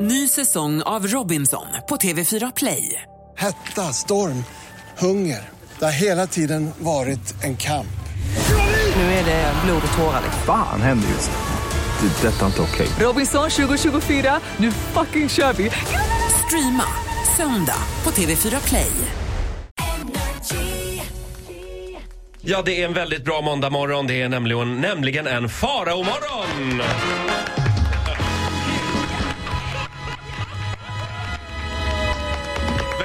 Ny säsong av Robinson på TV4 Play. Hetta, storm, hunger. Det har hela tiden varit en kamp. Nu är det blod och tårar. Fan händer just nu. Det. är Detta är inte okej. Robinson 2024, nu fucking kör vi! Streama söndag på TV4 Play. Ja, det är en väldigt bra måndagmorgon. Det är nämligen, nämligen en faraomorgon!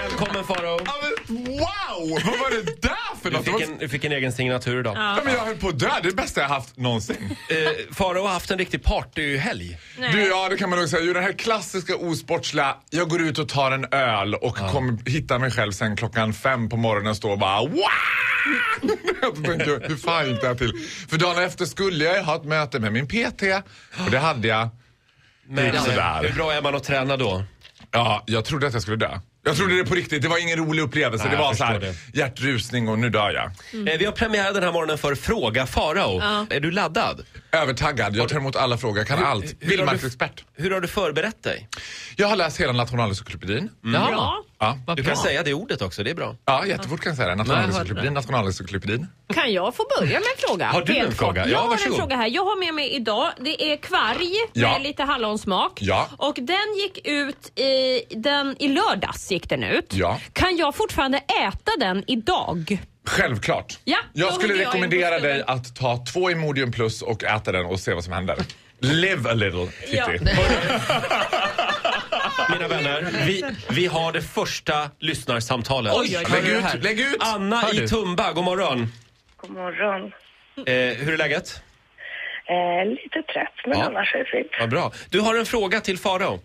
Välkommen farao! Ja, men Wow! Vad var det där för Du något? Det fick var- en, du fick en egen signatur idag. Ja, men jag höll på att dö. Det är det bästa jag haft någonsin. Eh, farao har haft en riktig partyhelg. Du, ja, det kan man nog säga. Jo, den här klassiska osportsliga, jag går ut och tar en öl och kommer hitta mig själv sen klockan fem på morgonen och står och bara wow! Jag tänker, hur fan gick det här till? För dagen efter skulle jag ju ha ett möte med min PT och det hade jag. Men Det är sådär. eh, hur bra är man att träna då? Ja, jag trodde att jag skulle dö. Jag trodde det på riktigt. Det var ingen rolig upplevelse. Nej, det jag var så förstår här, hjärtrusning och nu dör jag. Eh, vi har premiär den här morgonen för Fråga farao. Är du laddad? Övertaggad. Jag tar emot alla frågor. Jag kan allt. hur har du- Vildmarksexpert. Hur har du förberett dig? Jag har läst hela Nationalencyklopedin. Mm. Bra. Ja. Du kan säga det ordet också, det är bra. ja, jättefort kan jag säga det. Nationalencyklopedin, Nationalencyklopedin. Kan jag få börja med en fråga? Har du en kort. fråga? Ja, Jag har en varsågod. fråga här. Jag har med mig idag, det är kvarg Ja. med lite hallonsmak. Ja. Och den gick ut i, den, i lördags gick den ut. Ja. Kan jag fortfarande äta den idag? Självklart. Ja, jag då skulle hugger jag rekommendera in på dig att ta två Imodium plus och äta den och se vad som händer. Live a little, Kitty. Ja. Mina vänner, vi, vi har det första lyssnarsamtalet. Lägg ut, lägg ut! Anna Hör i du? Tumba, god morgon. God morgon. Eh, hur är läget? Eh, lite trött, men Ja. annars är det fint. Vad bra. Du har en fråga till Farao.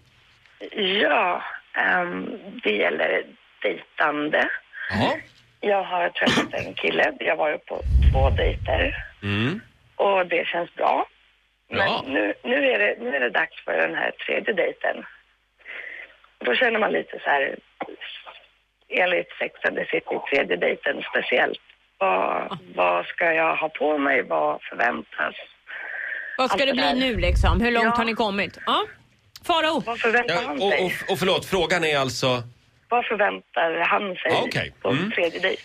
Ja, ehm, det gäller dejtande. Ja. Jag har träffat en kille. Jag var ju på två dejter Mm. och det känns bra. Men Bra. nu, nu, är det, nu är det dags för den här tredje dejten. Då känner man lite så här, enligt Sex and the City, tredje dejten speciellt. Vad, vad ska jag ha på mig? Vad förväntas? Vad ska Allt det det bli där. nu liksom? Hur långt Ja. har ni kommit? Ja. Farao, Vad förväntar Ja, han och, sig? och, och förlåt, frågan är alltså... Vad förväntar han sig Ja, okej. på Mm. tredje dejt?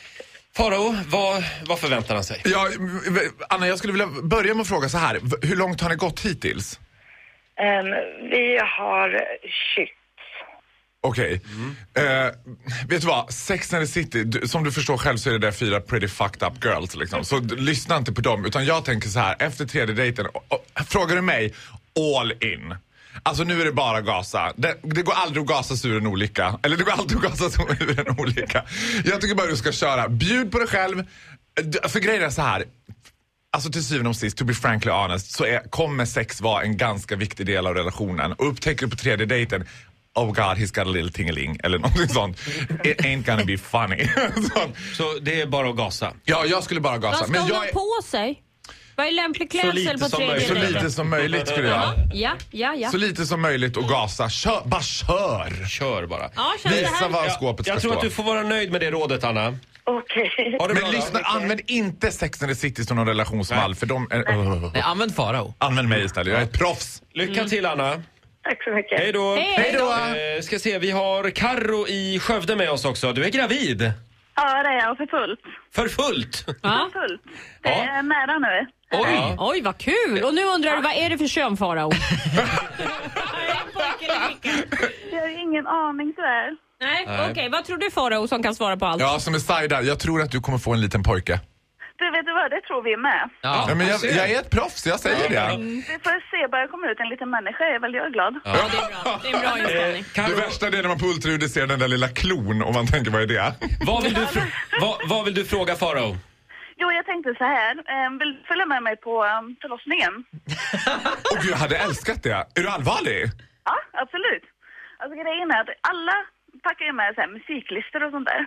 Farao, vad, vad förväntar han sig? Ja, v- Anna, jag skulle vilja börja med att fråga så här. V- Hur långt har ni gått hittills? Ehm, vi har kyss. Okej. Eh, vet du vad? Sex and the City, du, som du förstår själv så är det där fyra pretty fucked up girls liksom. Så d- lyssna inte på dem. Utan jag tänker så här, efter tredje dejten, o- o- frågar du mig, all in. Alltså nu är det bara gasa. Det, det går aldrig att gasa sig ur en olycka. Eller det går alltid att gasa sig ur en olycka. Jag tycker bara du ska köra. Bjud på dig själv. D- För grejen är så här, Alltså till syvende och sist, to be frankly honest, så är, kommer sex vara en ganska viktig del av relationen. Och upptäcker du på tredje dejten Oh god, he's got a little tingeling eller någonting sånt. It ain't gonna be funny. sånt. Så det är bara att gasa. Ja, jag skulle bara vad gasa. ska Men hon ha jag är på sig? Vad är lämplig lite klädsel på som tredje möjligt. så dig? dejten? lite som möjligt skulle jag. Ja, ja, ja. Så lite som möjligt och gasa. Kör, bara kör! Kör bara. ja känns det Visa här? var Jag, skåpet ska jag tror att stå. du får vara nöjd med det rådet, Anna. Okej. Ha det bra Men då. lyssna, använd inte Sex and the City som någon relationsmall för de är... Nej, använd Farao. Använd mig istället, jag är ett proffs. Lycka till, Anna. Tack så mycket. Hej då. Hej. Hej då. Eh, ska se, vi har Karro i Skövde med oss också. Du är gravid. Ja, det är jag för fullt. För fullt. Ja. För fullt. Det Ja. är nära nu. Oj. Oj, vad kul! Och nu undrar du, vad är det för kön Farao? liksom. Jag har ingen aning tyvärr. Nej, okej. Vad tror du Farao som kan svara på allt? Ja, som är Saida, jag tror att du kommer få en liten pojke. Du, vet du vad? Det tror vi med. Ja, men jag, ser. jag är ett proffs, jag säger det. Vi får se, bara jag kommer ut en liten människa är väl jag glad. Ja, det är bra. Det är en bra inställning. Det Karro, värsta det är när man på ultraljudet ser den där lilla klon och man tänker vad är det? vad, vill du fr- vad, vad vill du fråga Farao? Jo, jag tänkte så här. Eh, vill du följa med mig på eh, förlossningen? Och gud, jag hade älskat det. Är du allvarlig? Ja, absolut. Alltså grejen är att alla packar ju med så här, musiklistor och sånt där.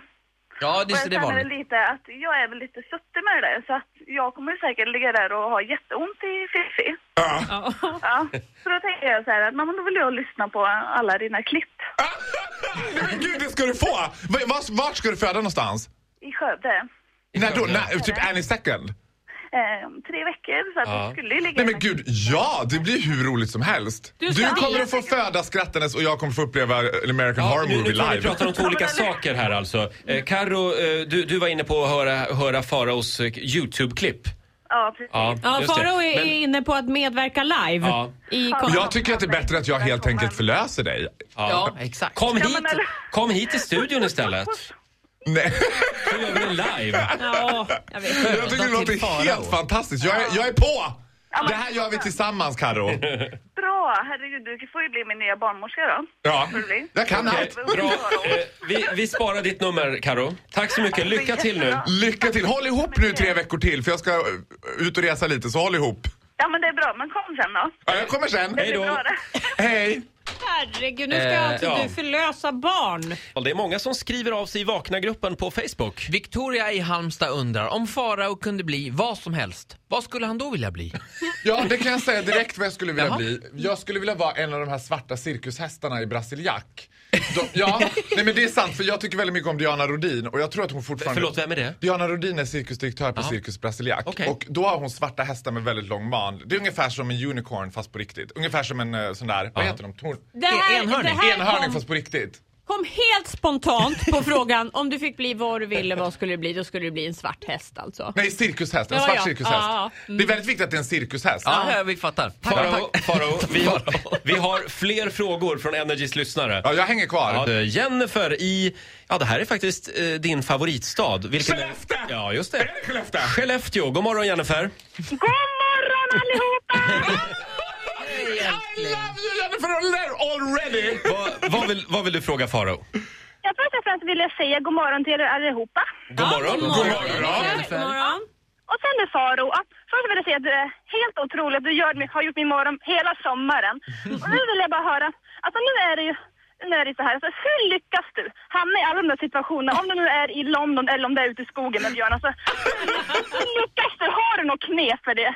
Ja, det, Och så jag det är känner vanligt. väl lite att jag är väl lite suttig med det där, så att jag kommer säkert ligga där och ha jätteont i fiffi. Ja. Ja, så då tänker jag så här att "Nej, men då vill jag lyssna på alla dina klipp Nej, Men gud, det ska du få! Va- Vart vart ska du föda någonstans? i Skövde. När då? När, typ any second? eh, om tre veckor. Så att Ja. vi skulle ju ligga Nej men gud, ja! Det blir hur roligt som helst. Du, kommer att få föda skrattandes och jag kommer få uppleva eh, American Ja, Horror nu, Movie nu tror jag vi live. pratar om två olika saker här alltså. Eh, Karo, eh, du, du var inne på att höra, höra Faraos eh, YouTube-klipp. Ja, precis. Ja, just det. Farao är Men- inne på att medverka live. Ja. I Ja. kon- Jag tycker att det är bättre att jag helt enkelt förlöser dig. Ja, exakt. Kom Ja, hit, men eller- kom hit till studion istället. Nej. Då gör vi det live. ja, jag vet. Jag tycker det till låter Farao. helt fantastiskt. Jag är, jag är på! Det här gör vi tillsammans Karo. Bra! Herregud, du får ju bli min nya barnmorska då. Ja, Får du bli. jag kan allt. Bra. Eh, vi, vi sparar ditt nummer, Karo. Tack så mycket. Lycka till nu. Lycka till! Håll ihop nu tre veckor till för jag ska eh, ut och resa lite, så håll ihop. Ja, men det är bra. Men kom sen då. Ja, jag kommer sen. Det Hej då. är bra det. Hej! Herregud, nu ska Eh, alltså ja. du förlösa barn. Ja, Det är många som skriver av sig i Vakna-gruppen på Facebook. Victoria i Halmstad undrar om Farao kunde bli vad som helst, vad skulle han då vilja bli? Ja, det kan jag säga direkt vad jag skulle vilja Jaha. bli. Jag skulle vilja vara en av de här svarta cirkushästarna i Brasiliak. De, ja, nej men det är sant för jag tycker väldigt mycket om Diana Rodin och jag tror att hon fortfarande... Förlåt, vem är det? Diana Rodin är cirkusdirektör på Cirkus Brasiliak. Okej. Och då har hon svarta hästar med väldigt lång man. Det är ungefär som en unicorn fast på riktigt. Ungefär som en eh, sån där, vad heter de? Torn... Det här, Enhörning. Det här Enhörning kom, fast på riktigt. kom helt spontant på frågan om du fick bli vad du ville, vad skulle du bli? Då skulle du bli en svart häst alltså. Nej, cirkushäst. En Ja, svart ja. cirkushäst. Ja, ja. Mm. Det är väldigt viktigt att det är en cirkushäst. Ja, ja vi fattar. Tack, Farao, tack. Farao, vi, har- vi har fler frågor från Energys lyssnare. Ja, jag hänger kvar. Ja, eh, Jennifer i, ja det här är faktiskt eh, din favoritstad. Vilken är- Skellefteå! Ja, just Är det. det Skellefteå? Skellefteå, god morgon Jennifer. God morgon allihopa! I love you Jennifer already! Vad, vad, vill, vad vill du fråga Farao? Jag först och främst vill jag säga god morgon till er allihopa. God morgon. God morgon. God morgon. Och sen med Faro, att först vill jag säga att det är helt otroligt att du gör, min- har gjort min morgon hela sommaren. Och nu vill jag bara höra, alltså nu är det ju nu är det så här, alltså, hur lyckas du hamna i alla de där situationerna, om du nu är i London eller om du är ute i skogen med Björn, alltså, hur lyckas du? Har du något knep för det?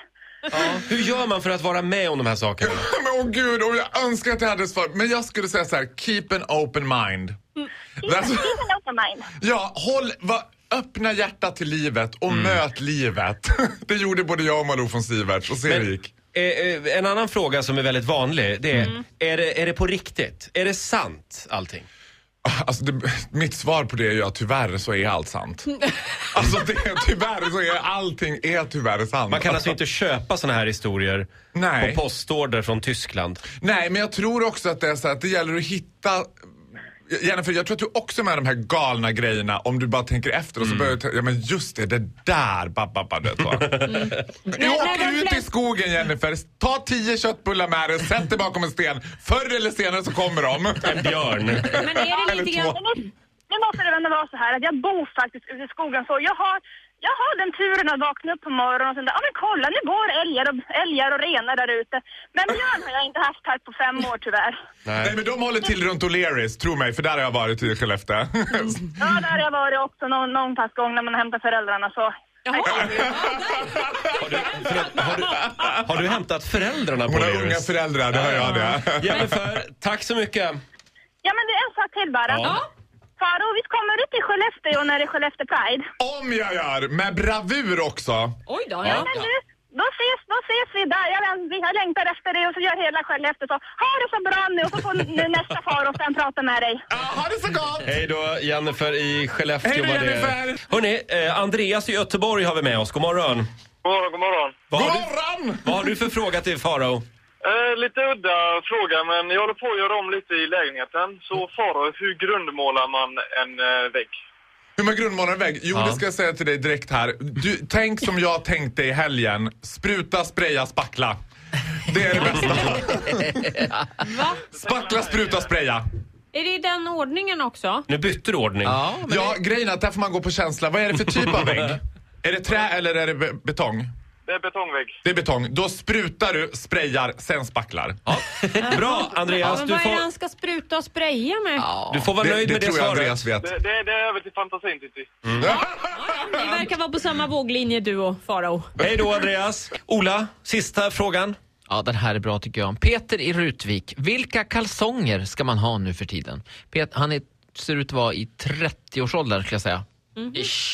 Ja, hur gör man för att vara med om de här sakerna? Men åh gud, och jag önskar att jag hade ett svar. Men jag skulle säga så här, keep an open mind. That's- Keep an open mind. ja, håll, va, öppna hjärtat till livet och Mm. möt livet. det gjorde både jag och Malou von Sieverts och se hur det Men, gick. eh, eh, en annan fråga som är väldigt vanlig det är, Mm. är, det, är det på riktigt? Är det sant allting? Alltså, det, mitt svar på det är ju att tyvärr så är allt sant. alltså det, tyvärr så är allting är tyvärr sant. Man kan alltså inte köpa såna här historier Nej. på postorder från Tyskland. Nej, men jag tror också att det är så här att det gäller att hitta Jennifer, jag tror att du också är med de här galna grejerna om du bara tänker efter Mm. och så börjar du tänka, ja men just det, det där, babba, babba, du vet vad. Du Nej, åker nej, de ut i flest- skogen Jennifer, ta tio köttbullar med dig, sätt dig bakom en sten. Förr eller senare så kommer de. En björn. Men är det lite Eller två. grann... Men nu- Nu måste det ändå vara så här att jag bor faktiskt ute i skogen så jag har, jag har den turen att vakna upp på morgonen och sen där, ja men kolla nu går älgar och, älgar och renar där ute. Men björn har jag inte haft här på fem år tyvärr. Nej men de håller till runt O'Learys, tro mig, för där har jag varit i Skellefteå. Mm. Ja, där har jag varit också någon, någon pass gång när man hämtar föräldrarna så. Jaha. Har du, förlåt, har, du, har du hämtat föräldrarna på Hon har unga Lyris? föräldrar, det har jag det. Jennifer, tack så mycket. Ja men det är en sak till bara. Ja. Faro, visst kommer du till Skellefteå när det är Skellefteå Pride? Om jag gör, med bravur också. Oj då. Ja. Ja. Men du, då ses, då ses vi där. Jag, läng- jag längtar efter dig och så gör hela Skellefteå så. Ha det så bra nu och så får nu nästa Faro sen prata med dig. Ja, ha det så gott! Hej då, Jennifer i Skellefteå. Hej då, var det. Jennifer. Hörrni, eh, Andreas i Göteborg har vi med oss. God morgon. God morgon, god morgon. Vad God har, du, morgon! vad har du för fråga till Farao? Eh, lite udda fråga, men jag håller på att göra om lite i lägenheten. Så Mm. Farao, hur grundmålar man en eh, vägg? Hur man grundmålar en vägg? Jo, det ska jag säga till dig direkt här. Du, tänk som jag tänkte i helgen. Spruta, spraya, spackla. Det är det bästa. Va? Spackla, spruta, spraya. Är det i den ordningen också? Nu bytte du ordning. Ja, men Ja, grejen är att där får man gå på känsla. Vad är det för typ av vägg? Är det trä eller är det be- betong? Det är betongvägg. Det är betong. Då sprutar du, sprayar, sen spacklar. Bra, Ja, Andreas. men Du vad är det får, han ska spruta och spraya med? du får vara Det, nöjd det med det tror jag Andreas svaret. Mm. vet. Det, det, det är över till fantasin, Titti. Ni verkar vara på samma våglinje du och Farao. Hej då, Andreas. Ola, sista frågan. Ja, den här är bra tycker jag. Peter i Rutvik. Vilka kalsonger ska man ha nu för tiden? Pet, han är, ser ut att vara i 30-årsåldern skulle jag säga.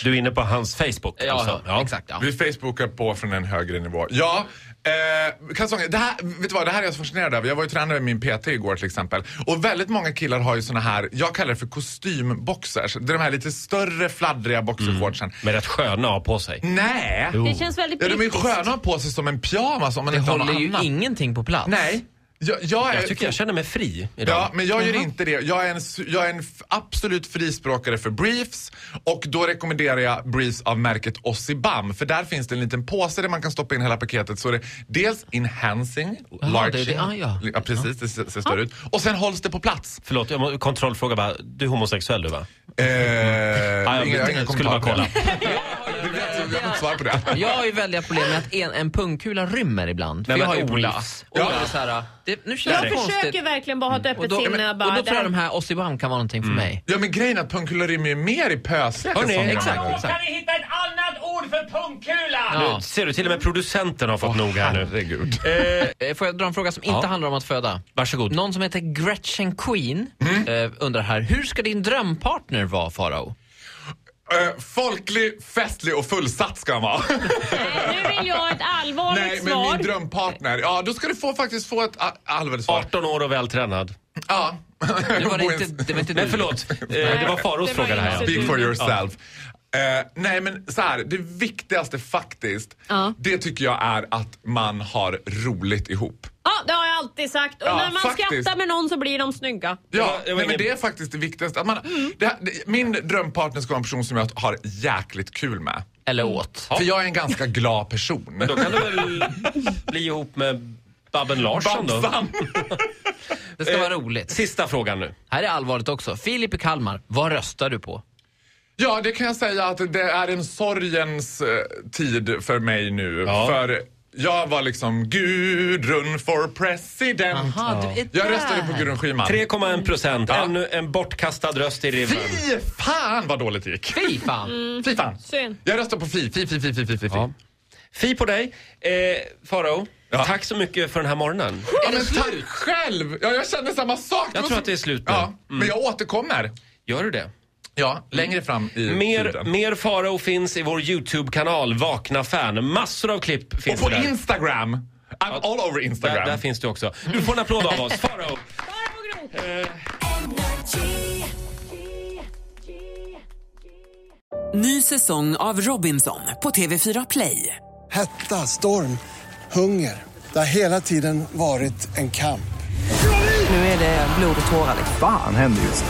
Du är inne på hans Facebook Ja, alltså? ja, exakt, ja. Vi facebookar på från en högre nivå. Ja, eh, kalsonger. Det här, vet du vad, det här är jag så fascinerad över. Jag var ju tränare med min PT igår till exempel. Och väldigt många killar har ju såna här, jag kallar det för kostymboxers. Det är de här lite större fladdriga boxershortsen. Mm. Med rätt sköna att ha på Mm. sig. Nej! Jo. Det känns väldigt Ja, de är ju brittiskt. sköna att ha på sig som en pyjamas om man Det inte har något håller ju annat. ingenting på plats. Nej. Jag, jag, är, Jag tycker jag känner mig fri idag. Ja, men jag gör inte det. Jag är en, s- jag är en f- absolut frispråkare för briefs och då rekommenderar jag briefs av märket Ossibam för där finns det en liten påse där man kan stoppa in hela paketet så är det dels enhancing, Jaha, larging, det är det. Ah, ja. Ah. precis, det ser, ser större ut och sen hålls det på plats. Förlåt, jag må, kontrollfråga bara. Du är homosexuell du va? Ah, Eh, Ja, jag inga- vet inte. inga skulle bara kommentarer kolla. på det. Du vet, jag kan inte svara på det. Jag har ju väldiga problem med att en, en pungkula rymmer ibland. För Nej, jag men har ju Ola. briefs. Och då är det så här, det, nu känns det Jag försöker konstigt. verkligen bara ha ett öppet Och då, sinne. och och bara, då tror jag de det här Ossibam kan vara någonting för mig. Ja men grejen är att pungkulor rymmer ju mer i pösiga Hörrni, kalsonger än exakt, vad man- exakt. vi hitta ett annat ord för pungkula? Ja. Nu, ser du, till och med producenten har fått nog här nu. Herregud. Eh, Får jag dra en fråga som inte Ja. handlar om att föda? Varsågod. Någon som heter Gretchen Queen eh, undrar här, hur ska din drömpartner vara Farao? Eh, folklig, festlig och fullsatt ska han vara. här... Nu vill jag ha ett allvarligt Nej, men svar. min drömpartner. Ja, då ska du få, faktiskt få ett a- allvarligt svar. 18 år och vältränad. Ja. Det var det inte, det var inte Men du. förlåt, eh, det var Faros Det var fråga det här. inte ja. Speak for yourself. Eh, nej men så här, det viktigaste faktiskt, Ja. det tycker jag är att man har roligt ihop. Ja, det har jag alltid sagt. Och Ja, när man faktiskt. skrattar med någon så blir de snygga. Ja, var- det var nej, men ingen- det är faktiskt det viktigaste. Att man, det, här- det, min drömpartner ska vara en person som jag har jäkligt kul med. Eller åt. För jag är en ganska glad person. Då kan du väl bli ihop med Babben Larsson då? Babsan! Det ska vara Eh, roligt. Sista frågan nu. Här är allvarligt också. Filip i Kalmar, vad röstar du på? Ja, det kan jag säga att det är en sorgens eh, tid för mig nu. Ja. För jag var liksom Gudrun for president. Aha, du är Jag där. röstade på Gudrun Schyman. 3,1 procent. Ännu en bortkastad röst i rivern. Fy fan vad dåligt det gick. Fy fan! Fy fan. Synd. Jag röstade på Fi. Fi, fi, fi, fi, fi, fi. Ja. Ja. Fi på dig. Eh, Farao, Ja. tack så mycket för den här morgonen. men tack själv! Ja, jag känner samma sak. Jag var tror så- att det är slut nu. Mm. Ja, men jag återkommer. Gör du det? Ja, längre fram i Mer, tiden. mer Farao finns i vår YouTube-kanal Vakna fan. Massor av klipp Och finns på där. Instagram. I'm all over Instagram. Där, där finns du också. Du får en applåd av oss. Farao! Ny säsong av Robinson på TV4 Play. Hetta, storm, hunger. Det har hela tiden varit en kamp. Nu är det blod och tårar. liksom. Fan händer just det.